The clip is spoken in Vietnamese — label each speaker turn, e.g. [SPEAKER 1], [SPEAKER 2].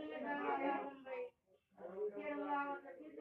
[SPEAKER 1] Thank you.